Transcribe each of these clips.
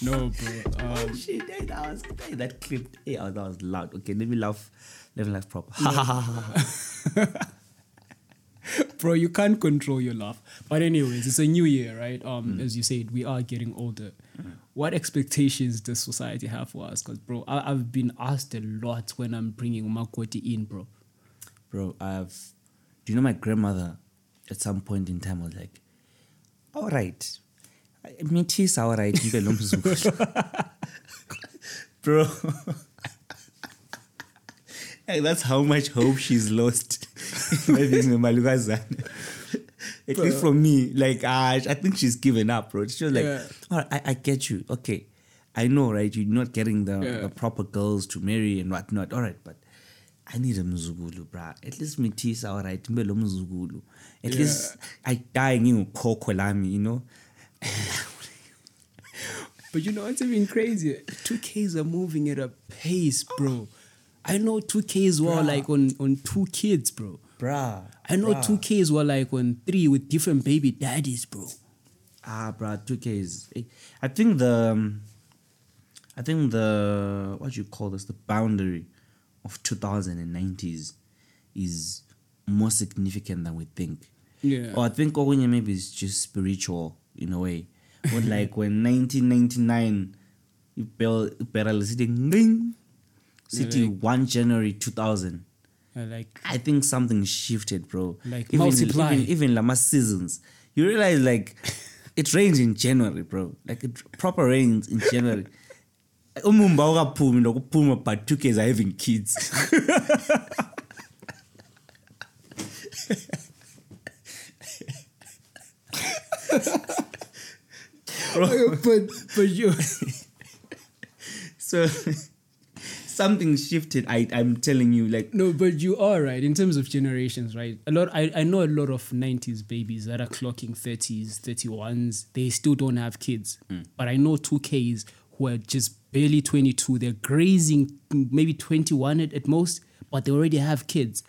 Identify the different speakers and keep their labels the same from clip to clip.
Speaker 1: bro. Um,
Speaker 2: Shit, that, that was that, that clip. Hey, oh, that was loud. Okay, let me laugh. Let me laugh proper. Ha, ha, ha, ha, ha.
Speaker 1: bro, you can't control your laugh. But anyways, it's a new year, right? Um, as you said, we are getting older. What expectations does society have for us? Because bro, I, I've been asked a lot when I'm bringing Makoti in, bro.
Speaker 2: bro, I've. Do you know my grandmother? At some point in time, was like, "All right, meet is all right." nibe lomzuku." bro. Like, that's how much hope she's lost. Maybe Malukazana. At least from me, like ah, I think she's given up, bro. She was like,
Speaker 1: Yeah.
Speaker 2: "All right, I, I get you. Okay, I know, right? You're not getting the,
Speaker 1: Yeah.
Speaker 2: the proper girls to marry and whatnot. All right, but I need a mzugulu, bruh. At least me tease, all right, mbe lo mzugulu. At least I die in koko lami, you know.
Speaker 1: But you know what's even crazier? 2Ks are moving at a pace, bro. I know 2Ks were like on, on two kids, bro.
Speaker 2: Bruh.
Speaker 1: I know 2Ks were like on three with different baby daddies, bro.
Speaker 2: Ah, bruh, 2K is. eh, I think the. um, I think the. What do you call this? The boundary of 2090s is more significant than we think.
Speaker 1: Yeah.
Speaker 2: Or I think Ogunya maybe is just spiritual in a way. But like when 1999, you bell, bell city, ding, city 1 January 2000.
Speaker 1: I like,
Speaker 2: I think something shifted, bro.
Speaker 1: Like
Speaker 2: even,
Speaker 1: multiply.
Speaker 2: Even, even Lama seasons. You realize like it rains in January, bro. Like it proper rains in January. umumba ungaphumi nokuphuma but two kids are having kids
Speaker 1: but, but you.
Speaker 2: so something shifted I, i'm telling you like
Speaker 1: No, but you are right in terms of generations, right? A lot. I, I know a lot of '90s babies that are clocking 30s, 31s. They still don't have kids, but I know 2Ks who are just barely 22. They're grazing maybe 21 at, at most, but they already have kids,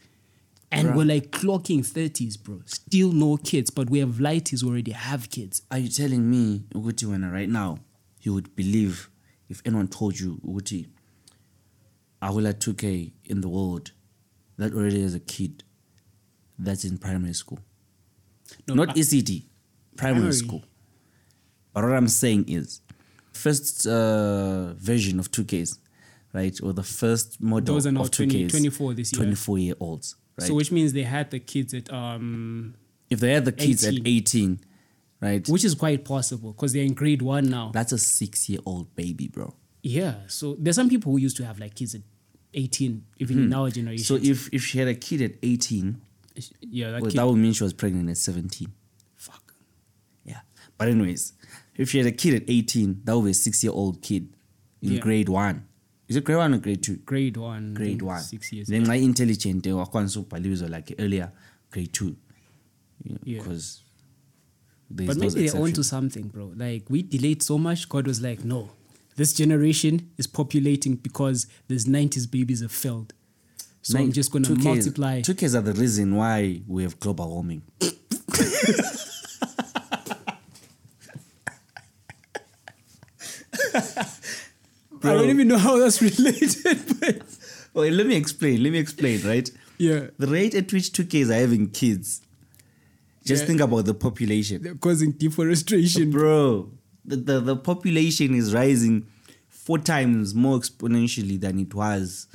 Speaker 1: and we're like clocking 30s, bro. Still no kids, but we have lighties who already have kids.
Speaker 2: Are you telling me, Uguti, when right now you would believe if anyone told you, Uguti, Ahula 2K in the world that already has a kid that's in primary school?
Speaker 1: No,
Speaker 2: Not
Speaker 1: I-
Speaker 2: ECD, primary,
Speaker 1: Primary.
Speaker 2: school. But what I'm saying is, first uh, version of 2Ks, right, or the first model
Speaker 1: Those are now
Speaker 2: of 2Ks,
Speaker 1: 20 24 this year.
Speaker 2: 24 year olds, right?
Speaker 1: So which means they had the kids at um,
Speaker 2: if they had the kids
Speaker 1: 18.
Speaker 2: at 18, right,
Speaker 1: which is quite possible because they're in grade one now.
Speaker 2: that's a six year old baby, bro.
Speaker 1: Yeah. So there's some people who used to have like kids at 18, even in our generation.
Speaker 2: Hmm. So if if she had a kid at 18,
Speaker 1: yeah, that
Speaker 2: well,
Speaker 1: kid.
Speaker 2: that would mean she was pregnant at 17.
Speaker 1: fuck.
Speaker 2: Yeah. But anyways, if she had a kid at 18, that would be a six-year-old kid in
Speaker 1: Yeah.
Speaker 2: grade one. Is it grade one or grade two?
Speaker 1: Grade one.
Speaker 2: Grade one.
Speaker 1: Six years.
Speaker 2: Then my intelligent, they were like earlier, grade two.
Speaker 1: Yeah.
Speaker 2: Because
Speaker 1: but maybe they're onto something, bro. Like we delayed so much, God was like, no, this generation is populating because these 90s babies have failed. So I'm just going to multiply.
Speaker 2: Two kids are the reason why we have global warming.
Speaker 1: I don't even know how that's related, but
Speaker 2: Well, let me explain. Let me explain, right?
Speaker 1: yeah,
Speaker 2: The rate at which 2Ks are having kids. Just
Speaker 1: Yeah.
Speaker 2: think about the population.
Speaker 1: they're causing deforestation.
Speaker 2: Bro, the, the, the population is rising four times more exponentially than it was.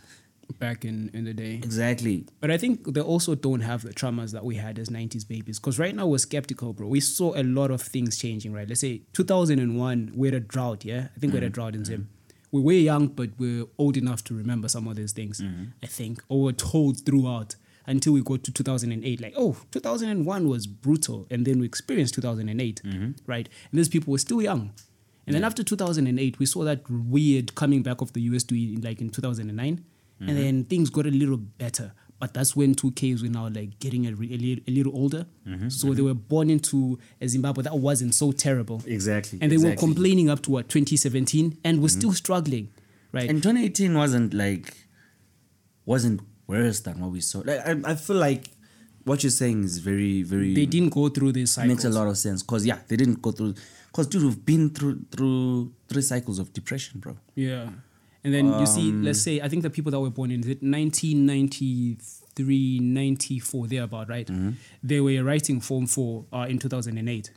Speaker 1: Back in, in the day.
Speaker 2: Exactly.
Speaker 1: But I think they also don't have the traumas that we had as 90s babies. Because right now we're skeptical, bro. We saw a lot of things changing, right? Let's say 2001, we had a drought, yeah? I think we had a drought in Zim. We were young, but we're old enough to remember some of these things, I think. Or we're told throughout until we got to 2008, like, oh, 2001 was brutal. And then we experienced 2008, right? And these people were still young. And then after 2008, we saw that weird coming back of the US to in- like in 2009.
Speaker 2: Mm-hmm.
Speaker 1: And then things got a little better. But that's when 2Ks were now like getting a, re- a, little, a little older.
Speaker 2: Mm-hmm.
Speaker 1: So they were born into a Zimbabwe that wasn't so terrible.
Speaker 2: Exactly,
Speaker 1: And they were
Speaker 2: exactly. Mm-hmm.
Speaker 1: complaining up to what, 2017? And we're still struggling, right?
Speaker 2: And 2018 wasn't like, wasn't worse than what we saw. Like, I, I feel like what you're saying is very, very.
Speaker 1: They didn't go through this cycle.
Speaker 2: makes a lot of sense because yeah, they didn't go through. Because dude, we've been through through three cycles of depression, bro.
Speaker 1: Yeah. And then you see, let's say, I think the people that were born in the 1993, 94, thereabout, right? They were writing Form 4 uh, in 2008.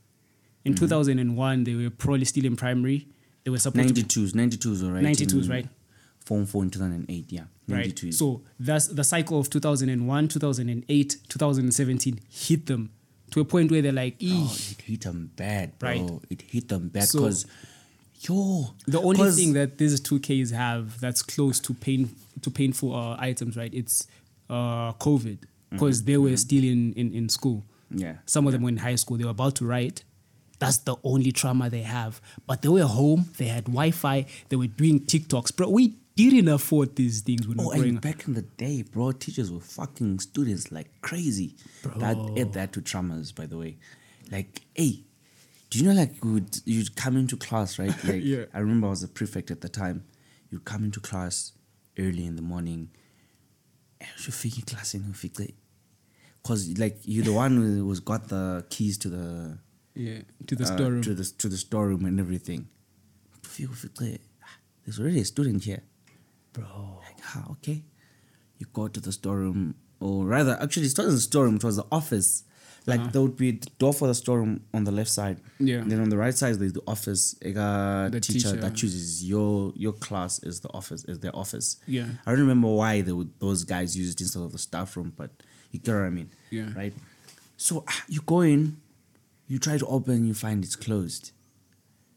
Speaker 1: In 2001, they were probably still in primary. They were supposed to
Speaker 2: 92s, 92s, all right.
Speaker 1: 92s,
Speaker 2: in
Speaker 1: right.
Speaker 2: Form 4 in 2008, yeah.
Speaker 1: right?
Speaker 2: 92s.
Speaker 1: So that's the cycle of 2001, 2008, 2017 hit them to a point where they're like,
Speaker 2: Oh,
Speaker 1: "Eesh."
Speaker 2: it hit them bad, bro.
Speaker 1: Right.
Speaker 2: It hit them bad
Speaker 1: So-
Speaker 2: because, yo.
Speaker 1: the only
Speaker 2: 'cause-
Speaker 1: thing that these two Ks have that's close to pain to painful uh, items, right? It's uh, COVID because they were still in, in in school.
Speaker 2: Mm-hmm. Yeah.
Speaker 1: Some of them were in high school. They were about to write. That's the only trauma they have. But they were home. They had Wi-Fi. They were doing TikToks, bro. We didn't afford these things when we
Speaker 2: Oh,
Speaker 1: were growing
Speaker 2: and
Speaker 1: up.
Speaker 2: back in the day, bro, teachers were fucking students like crazy. That add that to traumas, by the way. Like, hey, do you know like you would you'd come into class, right? Like
Speaker 1: Yeah.
Speaker 2: I remember I was a prefect at the time. You'd come into class early in the morning. And you fix your class and you fix it. Cause like you're the one who was got the keys to the
Speaker 1: Yeah, to the
Speaker 2: uh,
Speaker 1: storeroom.
Speaker 2: to the to the storeroom and everything. Feel feel- ah, There's already a student here, bro. Like, ah, okay. You go to the storeroom, or rather, actually, it's not the storeroom. It was the office. Like
Speaker 1: Uh-huh.
Speaker 2: there would be the door for the storeroom on the left side.
Speaker 1: Yeah.
Speaker 2: Then on the right side there's the office. A
Speaker 1: The
Speaker 2: the teacher,
Speaker 1: teacher.
Speaker 2: that chooses your your class is the office is their office.
Speaker 1: Yeah.
Speaker 2: I don't remember why they would, those guys used it instead of the staff room, but you get what I mean.
Speaker 1: Yeah.
Speaker 2: Right. So ah, you go in, you try to open, you find it's closed.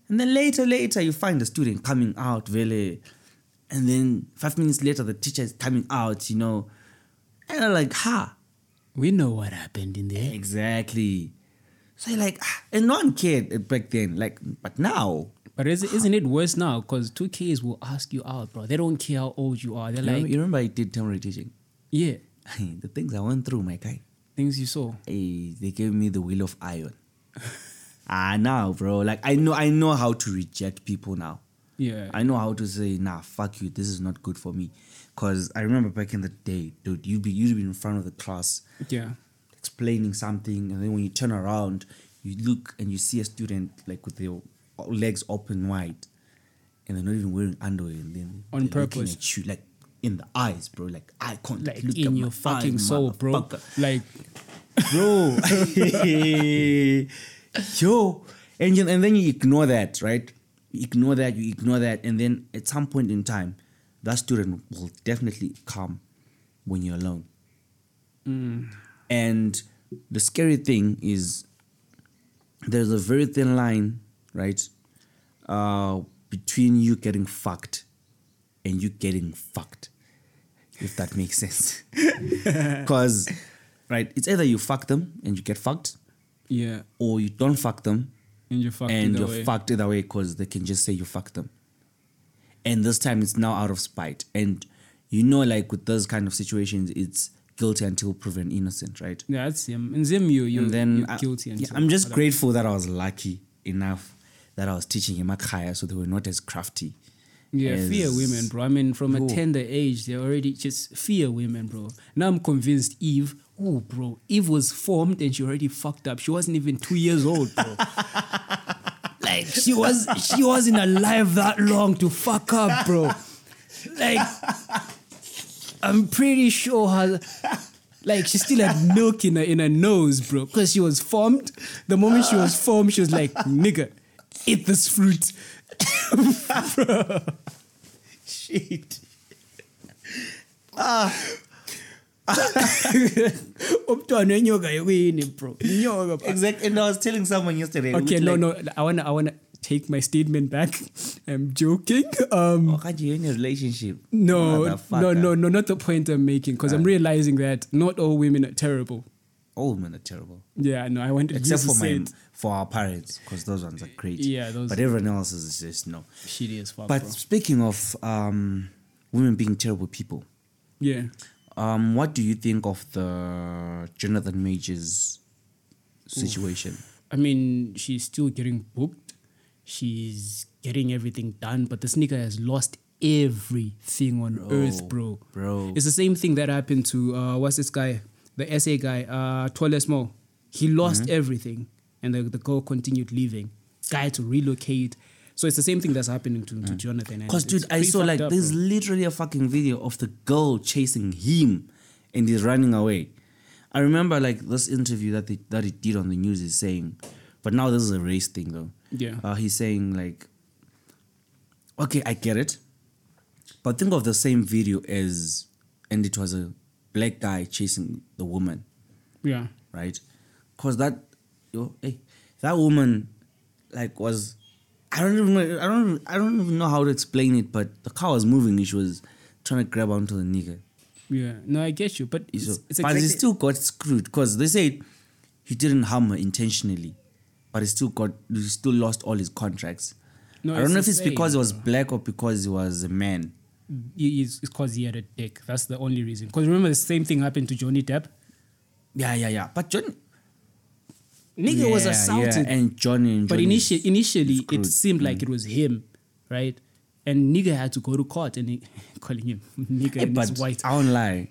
Speaker 2: And then later, later, you find the student coming out, really. And then five minutes later, the teacher is coming out, you know. And I'm like, ha,
Speaker 1: we know what happened in there.
Speaker 2: exactly. So you're like, ah, and no one cared back then. Like, but now,
Speaker 1: But is, isn't it worse now? Because two Ks will ask you out, bro. They don't care how old you are. They're
Speaker 2: you, remember,
Speaker 1: like,
Speaker 2: you remember I did temporary teaching?
Speaker 1: yeah,
Speaker 2: the things I went through, my guy.
Speaker 1: things you saw.
Speaker 2: Eh, they gave me the will of iron. ah, now, bro. Like, I know, I know how to reject people now.
Speaker 1: Yeah.
Speaker 2: I know how to say, nah, fuck you, this is not good for me. Cause I remember back in the day, dude, you'd be you'd be in front of the class
Speaker 1: yeah.
Speaker 2: explaining something, and then when you turn around, you look and you see a student like with their legs open wide, and they're not even wearing underwear, and then
Speaker 1: On
Speaker 2: they're looking
Speaker 1: purpose.
Speaker 2: at you like in the eyes, bro, like eye contact,
Speaker 1: Like
Speaker 2: look at
Speaker 1: in
Speaker 2: my
Speaker 1: your fucking
Speaker 2: eyes,
Speaker 1: soul, bro.
Speaker 2: motherfucker
Speaker 1: Like,
Speaker 2: bro. Yo, and you- and then you ignore that, right? You ignore that, you ignore that, and then at some point in time, that student will definitely come when you're alone. And the scary thing is, there's a very thin line, right, uh, between you getting fucked and you getting fucked, if that makes sense. Because, right, it's either you fuck them and you get fucked,
Speaker 1: yeah.
Speaker 2: or you don't fuck them
Speaker 1: And you're fucked.
Speaker 2: and
Speaker 1: either
Speaker 2: you're
Speaker 1: way.
Speaker 2: fucked either way because they can just say you fucked them. And this time it's now out of spite. And you know, like with those kind of situations, it's guilty until proven innocent, right?
Speaker 1: Yeah, that's him. And Zim, you, you,
Speaker 2: and then
Speaker 1: Mm, you're
Speaker 2: I-
Speaker 1: guilty. And
Speaker 2: yeah,
Speaker 1: so-
Speaker 2: I'm just
Speaker 1: other-
Speaker 2: grateful that I was lucky enough that I was teaching in Makhaya, so they were not as crafty.
Speaker 1: Yeah, fear
Speaker 2: as-
Speaker 1: women, bro. I mean, from
Speaker 2: Yo.
Speaker 1: a tender age, they already just fear women, bro. Now I'm convinced Eve, oh, bro, Eve was formed and she already fucked up. She wasn't even two years old, bro. like she was, she wasn't alive that long to fuck up, bro. Like, I'm pretty sure her. Like she still had milk in her in her nose, bro, because she was formed. The moment she was formed, she was like, "Nigga, eat this fruit."
Speaker 2: Shit.
Speaker 1: Ah. umntwana wenyoka yokuyini bro inyoka bro.
Speaker 2: Exactly. And I was telling someone yesterday.
Speaker 1: okay
Speaker 2: which,
Speaker 1: no
Speaker 2: like,
Speaker 1: no i want to i want to take my statement back i'm joking um
Speaker 2: Oh, can't you in a relationship?
Speaker 1: no no
Speaker 2: Motherfucker.
Speaker 1: no no not the point i'm making because i'm realizing that not all women are terrible
Speaker 2: All men are terrible.
Speaker 1: yeah no i want to
Speaker 2: Except for my
Speaker 1: said,
Speaker 2: for our parents, because those ones are great.
Speaker 1: Yeah, those-
Speaker 2: But everyone else is just no.
Speaker 1: shitty as fuck
Speaker 2: But
Speaker 1: bro.
Speaker 2: speaking of um, women being terrible people,
Speaker 1: yeah
Speaker 2: um, what do you think of the Jonathan Majors situation?
Speaker 1: i mean she's still getting booked she's getting everything done but the sneaker has lost everything on earth bro
Speaker 2: bro.
Speaker 1: it's the same thing that happened to uh what's this guy the SA guy, uh, Toilet Mo, he lost
Speaker 2: Mm-hmm.
Speaker 1: everything, and the, the girl continued leaving. Guy had to relocate. So it's the same thing that's happening to, to Jonathan. and
Speaker 2: Mm. Cause
Speaker 1: it's
Speaker 2: dude, I
Speaker 1: pretty
Speaker 2: saw
Speaker 1: fucked
Speaker 2: like
Speaker 1: up,
Speaker 2: there's
Speaker 1: bro.
Speaker 2: literally a fucking video of the girl chasing him, and he's running away. I remember like this interview that they, that he did on the news is saying, but now this is a race thing though.
Speaker 1: Yeah.
Speaker 2: uh, he's saying like, okay, I get it, but think of the same video as, and it was a black guy chasing the woman
Speaker 1: yeah,
Speaker 2: right? Because that, yo, hey, that woman, like, was, I don't even, know- I don't, I don't even know how to explain it, but the car was moving. and She was trying to grab onto the nigga.
Speaker 1: yeah. No, I get you, but it's,
Speaker 2: So-
Speaker 1: it's
Speaker 2: but
Speaker 1: exactly,
Speaker 2: he still got screwed because they said he didn't harm her intentionally, but he still got, he still lost all his contracts.
Speaker 1: No,
Speaker 2: I don't
Speaker 1: it's
Speaker 2: know if
Speaker 1: the
Speaker 2: it's because he
Speaker 1: same,
Speaker 2: was black or because he was a man.
Speaker 1: he- he's- it's because he had a dick. That's the only reason. Because remember, the same thing happened to Johnny Depp.
Speaker 2: Yeah, yeah, yeah. But John,
Speaker 1: Nigga was
Speaker 2: Yeah,
Speaker 1: assaulted.
Speaker 2: yeah, and Johnny, and
Speaker 1: But
Speaker 2: Johnny-
Speaker 1: initially, initially it
Speaker 2: screwed.
Speaker 1: seemed like it was him, right? And nigga had to go to court and he, calling him nigga
Speaker 2: Hey,
Speaker 1: and
Speaker 2: Eh, but
Speaker 1: it's white.
Speaker 2: I won't lie.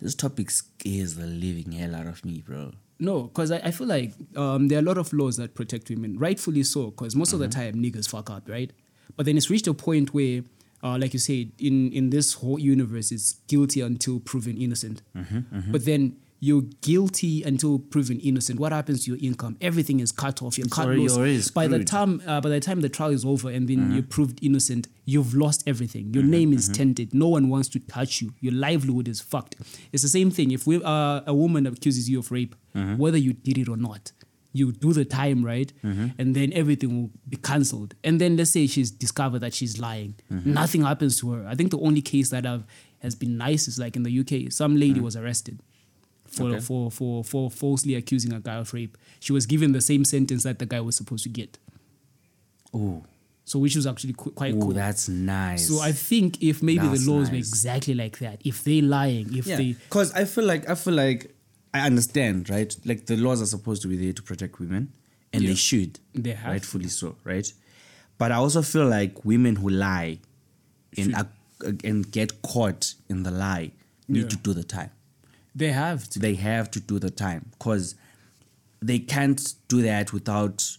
Speaker 2: This topic scares the living hell out of me, bro.
Speaker 1: No, because I, I feel like um, there are a lot of laws that protect women, rightfully so, because most of the
Speaker 2: Mm-hmm.
Speaker 1: time niggas fuck up, right? But then it's reached a point where, uh, like you said, in, in this whole universe, it's guilty until proven innocent.
Speaker 2: Mm-hmm,
Speaker 1: But then you're guilty until proven innocent. What happens to your income? Everything is cut off. You're
Speaker 2: It's
Speaker 1: cut
Speaker 2: already-
Speaker 1: loose.
Speaker 2: already
Speaker 1: by the
Speaker 2: screwed.
Speaker 1: time uh, by the time the trial is over and then you're proved innocent, you've lost everything. Your name is tainted. No one wants to touch you. Your livelihood is fucked. It's the same thing. If we, uh, a woman accuses you of rape, whether you did it or not, you do the time right, and then everything will be cancelled. And then let's say she's discovered that she's lying. Nothing happens to her. I think the only case that I've has been nice is like in the UK, some lady was arrested for,
Speaker 2: Okay.
Speaker 1: for, for, for falsely accusing a guy of rape. She was given the same sentence that the guy was supposed to get.
Speaker 2: Oh,
Speaker 1: So, which was actually qu- quite
Speaker 2: oh,
Speaker 1: cool.
Speaker 2: that's nice.
Speaker 1: So, I think if maybe
Speaker 2: That's
Speaker 1: the laws were
Speaker 2: nice.
Speaker 1: exactly like that, if they lying, if
Speaker 2: yeah,
Speaker 1: they.
Speaker 2: because I feel like I feel like I understand, right? Like the laws are supposed to be there to protect women, and
Speaker 1: Yeah.
Speaker 2: they should,
Speaker 1: They have
Speaker 2: rightfully so, right? But I also feel like women who lie and ac- and get caught in the lie need
Speaker 1: Yeah.
Speaker 2: to do the time.
Speaker 1: They have to.
Speaker 2: They have to do the time because they can't do that without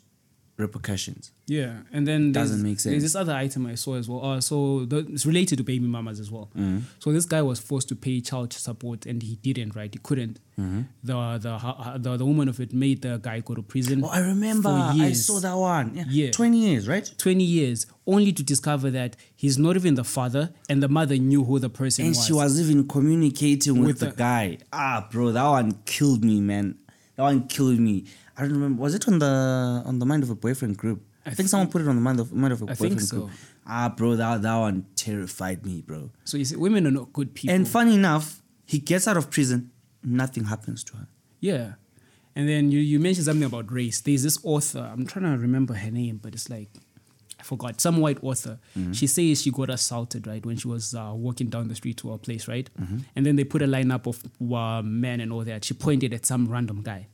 Speaker 2: repercussions.
Speaker 1: Yeah. And then there's-
Speaker 2: Doesn't make
Speaker 1: There's this other item I saw as well. Uh, so, the, it's related to baby mamas as well.
Speaker 2: Mm-hmm.
Speaker 1: So, this guy was forced to pay child support and he didn't, right? He couldn't.
Speaker 2: Mm-hmm.
Speaker 1: The, the, hu- the, the woman of it made the guy go to prison.
Speaker 2: Oh, I remember.
Speaker 1: for
Speaker 2: I
Speaker 1: years.
Speaker 2: saw that one. Yeah.
Speaker 1: Yeah.
Speaker 2: 20 years, right?
Speaker 1: 20 years only to discover that he's not even the father and the mother knew who the person
Speaker 2: And
Speaker 1: was.
Speaker 2: she was even communicating with,
Speaker 1: With
Speaker 2: the,
Speaker 1: the-
Speaker 2: guy. Ah, bro, that one killed me, man. That one killed me. I don't remember. Was it on the on the mind of a boyfriend group? I, think, someone put it on the mind of mind of a
Speaker 1: I think
Speaker 2: boyfriend
Speaker 1: so.
Speaker 2: group. Ah, bro, that that one terrified me, bro.
Speaker 1: so you see, women are not good people.
Speaker 2: And funny enough, he gets out of prison. Nothing happens to her.
Speaker 1: yeah. And then you, you mentioned something about race. There's this author, I'm trying to remember her name, but it's like, I forgot, some white author. She says she got assaulted, right, when she was uh, walking down the street to her place, right? And then they put a lineup of uh, men and all that. She pointed at some random guy.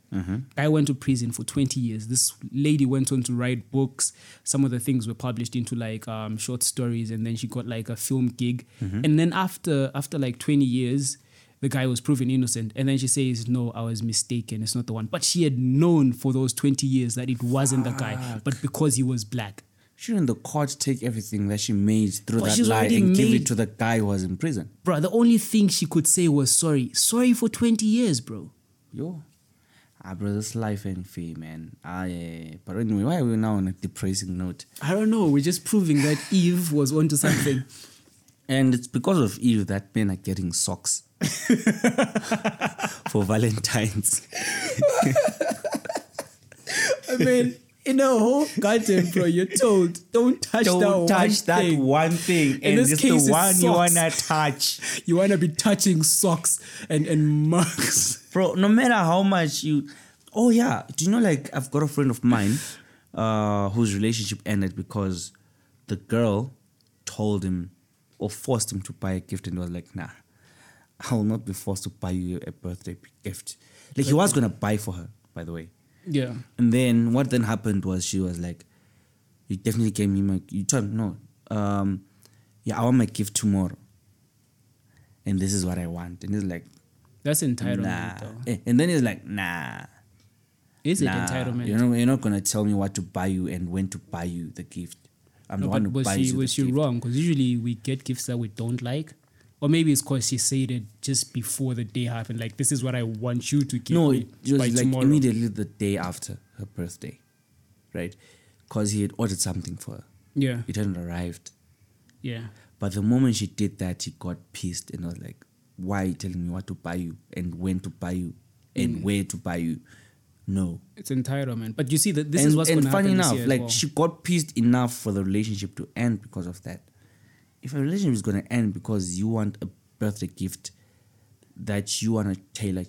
Speaker 1: Guy went to prison for 20 years. This lady went on to write books. Some of the things were published into like um, short stories, and then she got like a film gig. And then after after like 20 years, the guy was proven innocent. And then she says, No, I was mistaken. It's not the one. But she had known for those 20 years that it wasn't the guy, but because he was black.
Speaker 2: Shouldn't the court take everything that she made through
Speaker 1: But
Speaker 2: that
Speaker 1: she's
Speaker 2: lie
Speaker 1: already
Speaker 2: and give
Speaker 1: made-
Speaker 2: it to the guy who was in prison?
Speaker 1: Bro, the only thing she could say was sorry. Sorry for 20 years, bro.
Speaker 2: Yo. Ah, bro, this life ain't fair, man. Ah, yeah, yeah, yeah. But anyway, why are we now on a depressing note?
Speaker 1: I don't know. We're just proving that Eve was onto something.
Speaker 2: And it's because of Eve that men are getting socks for Valentine's.
Speaker 1: I mean, in a whole garden, bro, you're told don't touch
Speaker 2: Don't
Speaker 1: that one
Speaker 2: touch that
Speaker 1: thing."
Speaker 2: one thing,
Speaker 1: In
Speaker 2: and
Speaker 1: this
Speaker 2: it's
Speaker 1: case,
Speaker 2: the
Speaker 1: it's
Speaker 2: one you
Speaker 1: socks.
Speaker 2: wanna touch,
Speaker 1: You wanna be touching socks and and mugs.
Speaker 2: bro. No matter how much you, oh yeah, do you know like I've got a friend of mine, uh, whose relationship ended because the girl told him or forced him to buy a gift, and he was like, nah, I will not be forced to buy you a birthday gift. Like he was gonna buy for her, by the way.
Speaker 1: Yeah.
Speaker 2: And then what then happened was she was like, "You definitely gave me my. You told me no. Um, yeah, I want my gift tomorrow. And this is what I want. And it's like,
Speaker 1: That's entitlement,
Speaker 2: nah.
Speaker 1: though.
Speaker 2: Eh, And then he's like, nah.
Speaker 1: Is it
Speaker 2: nah,
Speaker 1: entitlement?
Speaker 2: You're not, you're not gonna tell me what to buy you and when to buy you the gift. I'm
Speaker 1: No,
Speaker 2: the one
Speaker 1: but
Speaker 2: who
Speaker 1: was
Speaker 2: buys
Speaker 1: she
Speaker 2: you
Speaker 1: was
Speaker 2: the
Speaker 1: she
Speaker 2: gift.
Speaker 1: wrong? Because usually we get gifts that we don't like, or maybe it's because she said it just before the day happened. Like this is what I want you to give
Speaker 2: No,
Speaker 1: me
Speaker 2: it was
Speaker 1: by
Speaker 2: like
Speaker 1: tomorrow.
Speaker 2: immediately the day after her birthday, right? Because he had ordered something for her.
Speaker 1: Yeah,
Speaker 2: It hadn't arrived.
Speaker 1: yeah.
Speaker 2: But the moment she did that, he got pissed and I was like, why are you telling me what to buy you and when to buy you
Speaker 1: Mm.
Speaker 2: and where to buy you? No.
Speaker 1: It's entitlement. But you see that this
Speaker 2: and,
Speaker 1: is what's
Speaker 2: and
Speaker 1: going to happen
Speaker 2: funny
Speaker 1: this
Speaker 2: enough,
Speaker 1: year as
Speaker 2: like
Speaker 1: well.
Speaker 2: she got pissed enough for the relationship to end because of that. If a relationship is gonna end because you want a birthday gift that you wanna tailor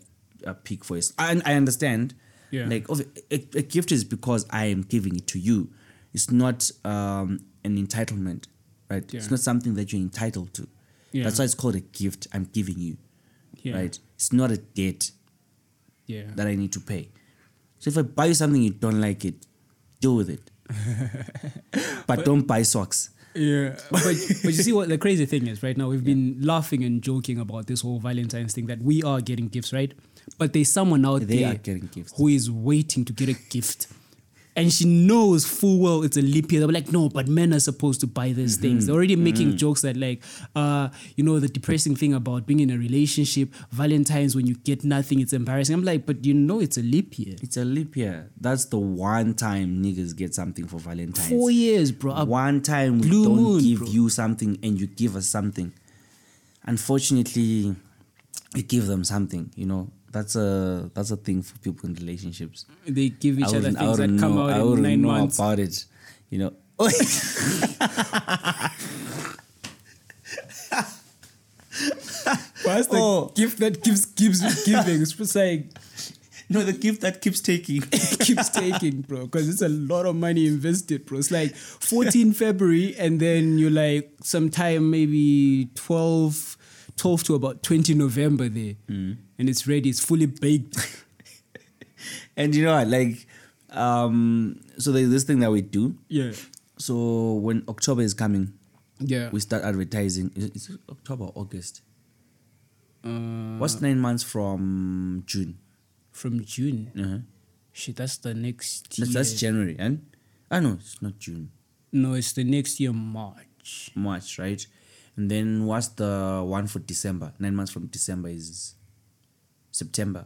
Speaker 2: a pick for us, I, I understand.
Speaker 1: Yeah.
Speaker 2: Like of- a, a gift is because I am giving it to you. It's not um, an entitlement, right? It's
Speaker 1: Yeah.
Speaker 2: not something that you're entitled to.
Speaker 1: Yeah.
Speaker 2: That's why it's called a gift I'm giving you,
Speaker 1: yeah,
Speaker 2: right? It's not a debt
Speaker 1: Yeah,
Speaker 2: that I need to pay. So if I buy you something you don't like it, deal with it. but, don't buy socks.
Speaker 1: yeah. but but you see what the crazy thing is right now? We've been laughing and joking about this whole Valentine's thing that we are getting gifts, right? But there's someone out
Speaker 2: They
Speaker 1: there
Speaker 2: are getting gifts.
Speaker 1: who is waiting to get a gift. And she knows full well it's a leap year. They're like, no, but men are supposed to buy
Speaker 2: Mm-hmm.
Speaker 1: these things. They're already making jokes that, like, uh, you know, the depressing thing about being in a relationship, Valentine's when you get nothing, it's embarrassing. I'm like, but you know, it's a leap year.
Speaker 2: It's a leap year. That's the one time niggas get something for Valentine's.
Speaker 1: Four years, bro. I-
Speaker 2: one time we
Speaker 1: Blue
Speaker 2: don't
Speaker 1: moon,
Speaker 2: give
Speaker 1: bro.
Speaker 2: you something and you give us something. Unfortunately, you give them something. You know that's a that's a thing for people in relationships.
Speaker 1: They give each
Speaker 2: I
Speaker 1: other
Speaker 2: wouldn't- I
Speaker 1: things that
Speaker 2: wouldn't
Speaker 1: come
Speaker 2: know, I
Speaker 1: out in
Speaker 2: wouldn't
Speaker 1: nine
Speaker 2: know
Speaker 1: months.
Speaker 2: about it. You know.
Speaker 1: That's the
Speaker 2: Oh.
Speaker 1: gift that keeps gives giving. It's like
Speaker 2: no, the gift that keeps taking.
Speaker 1: keeps taking, bro, because it's a lot of money invested, bro. It's like 14 February, and then you're like sometime maybe 12, 12 to about 20 November there,
Speaker 2: Mm.
Speaker 1: and it's ready. It's fully baked.
Speaker 2: And you know what? Like, um, so there's this thing that we do.
Speaker 1: yeah,
Speaker 2: So when October is coming,
Speaker 1: yeah.
Speaker 2: we start advertising. Is it, is it October or August?
Speaker 1: Uh,
Speaker 2: What's nine months from June?
Speaker 1: from June?
Speaker 2: Uh-huh.
Speaker 1: Shit, that's the next. Year.
Speaker 2: That's, that's January, and I know it's not June,
Speaker 1: no, it's the next year, March.
Speaker 2: March, right? And then what's the one for December? Nine months from December is September.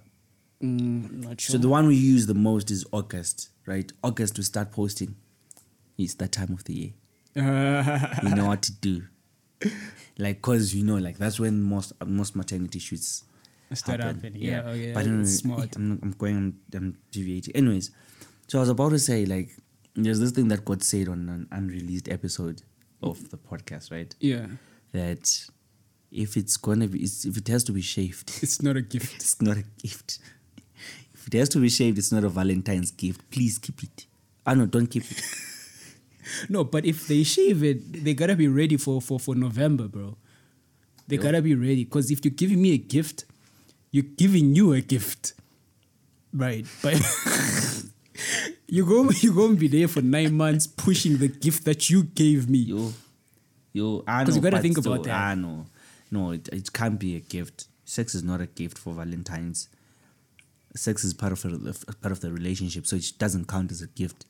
Speaker 1: Mm, not sure.
Speaker 2: So the one we use the most is August, right? August we start posting. It's that time of the year. you know what to do. Like, cause you know, like that's when most most maternity shoots
Speaker 1: Start
Speaker 2: happen.
Speaker 1: happening. Yeah, oh, yeah,
Speaker 2: But no, no,
Speaker 1: it's
Speaker 2: no,
Speaker 1: smart.
Speaker 2: I'm, not- I'm going. I'm, I'm deviating. Anyways, so I was about to say like, there's this thing that got said on an unreleased episode of the podcast, right?
Speaker 1: yeah,
Speaker 2: That if it's gonna be, it's, if it has to be shaved,
Speaker 1: it's not a gift.
Speaker 2: it's not a gift. If it has to be shaved, it's not a Valentine's gift. Please keep it. Ah no, don't keep it.
Speaker 1: No, but if they shave it, they gotta be ready for for for November, bro. They gotta be ready because if you're giving me a gift, you're giving you a gift, right? But you go you gonna be there for nine months pushing the gift that you gave me.
Speaker 2: Yo, yo, I know.
Speaker 1: 'Cause you gotta
Speaker 2: but
Speaker 1: think
Speaker 2: still,
Speaker 1: about that.
Speaker 2: I know. No, it, it can't be a gift. Sex is not a gift for Valentine's. Sex is part of a, part of the relationship, so it doesn't count as a gift.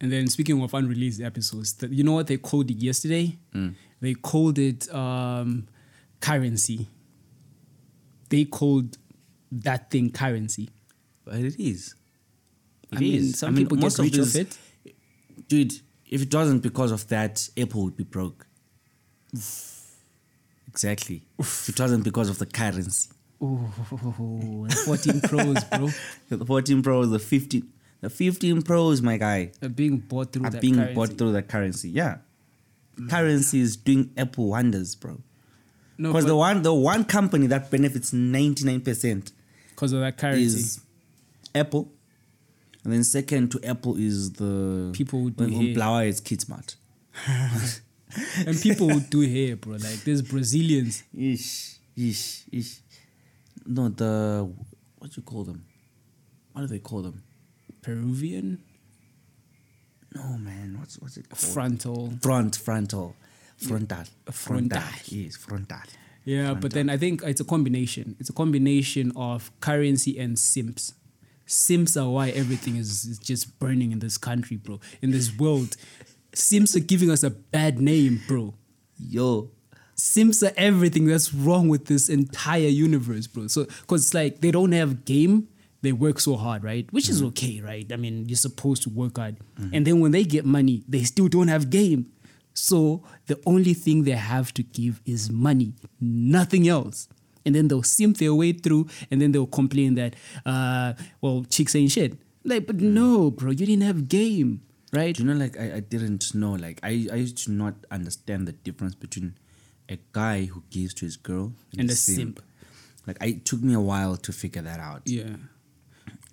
Speaker 1: And then speaking of unreleased episodes, th- you know what they called it yesterday?
Speaker 2: Hmm.
Speaker 1: They called it um, currency. They called that thing currency.
Speaker 2: But it is.
Speaker 1: I
Speaker 2: It is.
Speaker 1: mean, some people get
Speaker 2: most
Speaker 1: rich of
Speaker 2: these-
Speaker 1: it.
Speaker 2: Dude, if it wasn't because of that, Apple would be broke. Exactly. If it wasn't because of the currency.
Speaker 1: Oh, 14 pros, bro.
Speaker 2: The 14 Pro, the 15, the 15 Pro is my guy.
Speaker 1: They're being bought through
Speaker 2: are
Speaker 1: that
Speaker 2: being
Speaker 1: currency.
Speaker 2: bought through the currency. Yeah, currency is doing Apple wonders, bro.
Speaker 1: No,
Speaker 2: Because the one the one company that benefits ninety nine percent
Speaker 1: because of that currency.
Speaker 2: is Apple, and then second to Apple is the
Speaker 1: People who do
Speaker 2: when- when
Speaker 1: hair.
Speaker 2: Blower is Kidsmart.
Speaker 1: and people would do hair, bro. Like, there's Brazilians.
Speaker 2: Ish, ish, ish. No, the what do you call them? What do they call them?
Speaker 1: Peruvian?
Speaker 2: Oh. No, man. What's what's it called?
Speaker 1: Frontal.
Speaker 2: front, frontal, frontal,
Speaker 1: Frontal.
Speaker 2: Yes, frontal.
Speaker 1: Yeah, but then I think it's a combination. It's a combination of currency and simps. Simps are why everything is, is just burning in this country, bro. In this world, simps are giving us a bad name, bro.
Speaker 2: Yo,
Speaker 1: Simps are everything that's wrong with this entire universe, bro. So, because like they don't have game, they work so hard, right? Which
Speaker 2: Mm-hmm.
Speaker 1: is okay, right? I mean, you're supposed to work hard. And then when they get money, they still don't have game. So, the only thing they have to give is money, nothing else. And then they'll simp their way through and then they'll complain that, uh, well, chicks ain't shit. Like, but no, bro, you didn't have game, right?
Speaker 2: Mm. do you know? Like I, I didn't know. Like I, I used to not understand the difference between a guy who gives to his girl
Speaker 1: And a simp.
Speaker 2: Like I, it took me a while to figure that out.
Speaker 1: Yeah.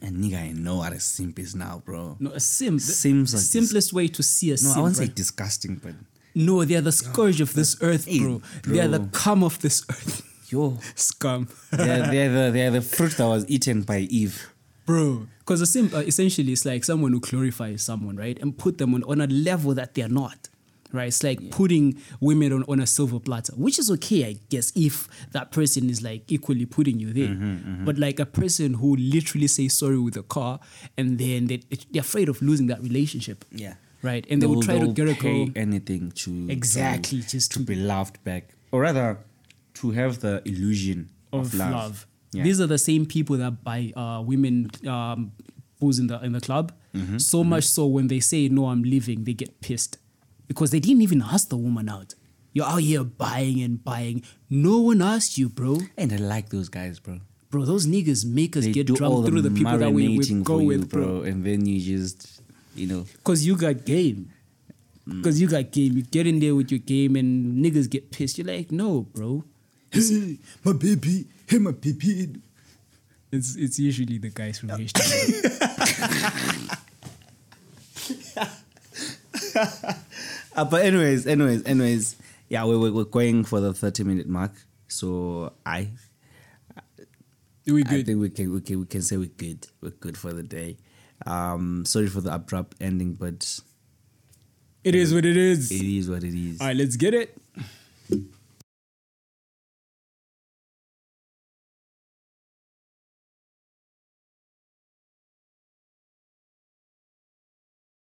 Speaker 2: And nigga, I know what a simp is now, bro.
Speaker 1: No, a simp.
Speaker 2: Simps
Speaker 1: the
Speaker 2: are
Speaker 1: simplest way to see a
Speaker 2: No,
Speaker 1: simp.
Speaker 2: I won't say
Speaker 1: right?
Speaker 2: disgusting, but
Speaker 1: No, they are the scourge of this earth,
Speaker 2: Hey,
Speaker 1: bro. They are the
Speaker 2: bro.
Speaker 1: cum of this earth.
Speaker 2: yo,
Speaker 1: Scum.
Speaker 2: they're, they're the they're the fruit that was eaten by Eve.
Speaker 1: bro. Because a simp uh, essentially is like someone who glorifies someone, right? And put them on, on a level that they're not, right? It's like putting women on, on a silver platter, which is okay, I guess, if that person is like equally putting you there.
Speaker 2: Mm-hmm,
Speaker 1: But like a person who literally says sorry with a car and then they, they're afraid of losing that relationship.
Speaker 2: Yeah.
Speaker 1: Right? And they, will try to
Speaker 2: they'll
Speaker 1: get a girl.
Speaker 2: pay anything to
Speaker 1: Exactly,
Speaker 2: to,
Speaker 1: just
Speaker 2: to
Speaker 1: to-
Speaker 2: be loved back, or rather, to have the illusion of,
Speaker 1: of
Speaker 2: love.
Speaker 1: love.
Speaker 2: Yeah.
Speaker 1: These are the same people that buy uh, women um, booze in the in the club.
Speaker 2: Mm-hmm.
Speaker 1: So much so when they say no, I'm leaving, they get pissed because they didn't even ask the woman out. You're out here buying and buying. No one asked you, bro.
Speaker 2: and I like those guys, bro.
Speaker 1: Bro, those niggas make us
Speaker 2: They
Speaker 1: get
Speaker 2: do all
Speaker 1: drunk
Speaker 2: the
Speaker 1: through the people that we, we
Speaker 2: marinating
Speaker 1: go
Speaker 2: for you,
Speaker 1: with, bro.
Speaker 2: and then you just, you know,
Speaker 1: Cause you got game.
Speaker 2: Mm.
Speaker 1: Cause you got game. You get in there with your game, and niggas get pissed. You're like, no, bro.
Speaker 2: my baby, hey, my baby.
Speaker 1: It's it's usually the guys from HTV.
Speaker 2: Uh, but anyways, anyways, anyways, yeah, we, we, we're going for the thirty minute mark, so I
Speaker 1: We
Speaker 2: I
Speaker 1: good.
Speaker 2: think we can we can we can say we're good. We're good for the day. Um, sorry for the abrupt ending, but
Speaker 1: It is what it is.
Speaker 2: it is what it is.
Speaker 1: All right, let's get it.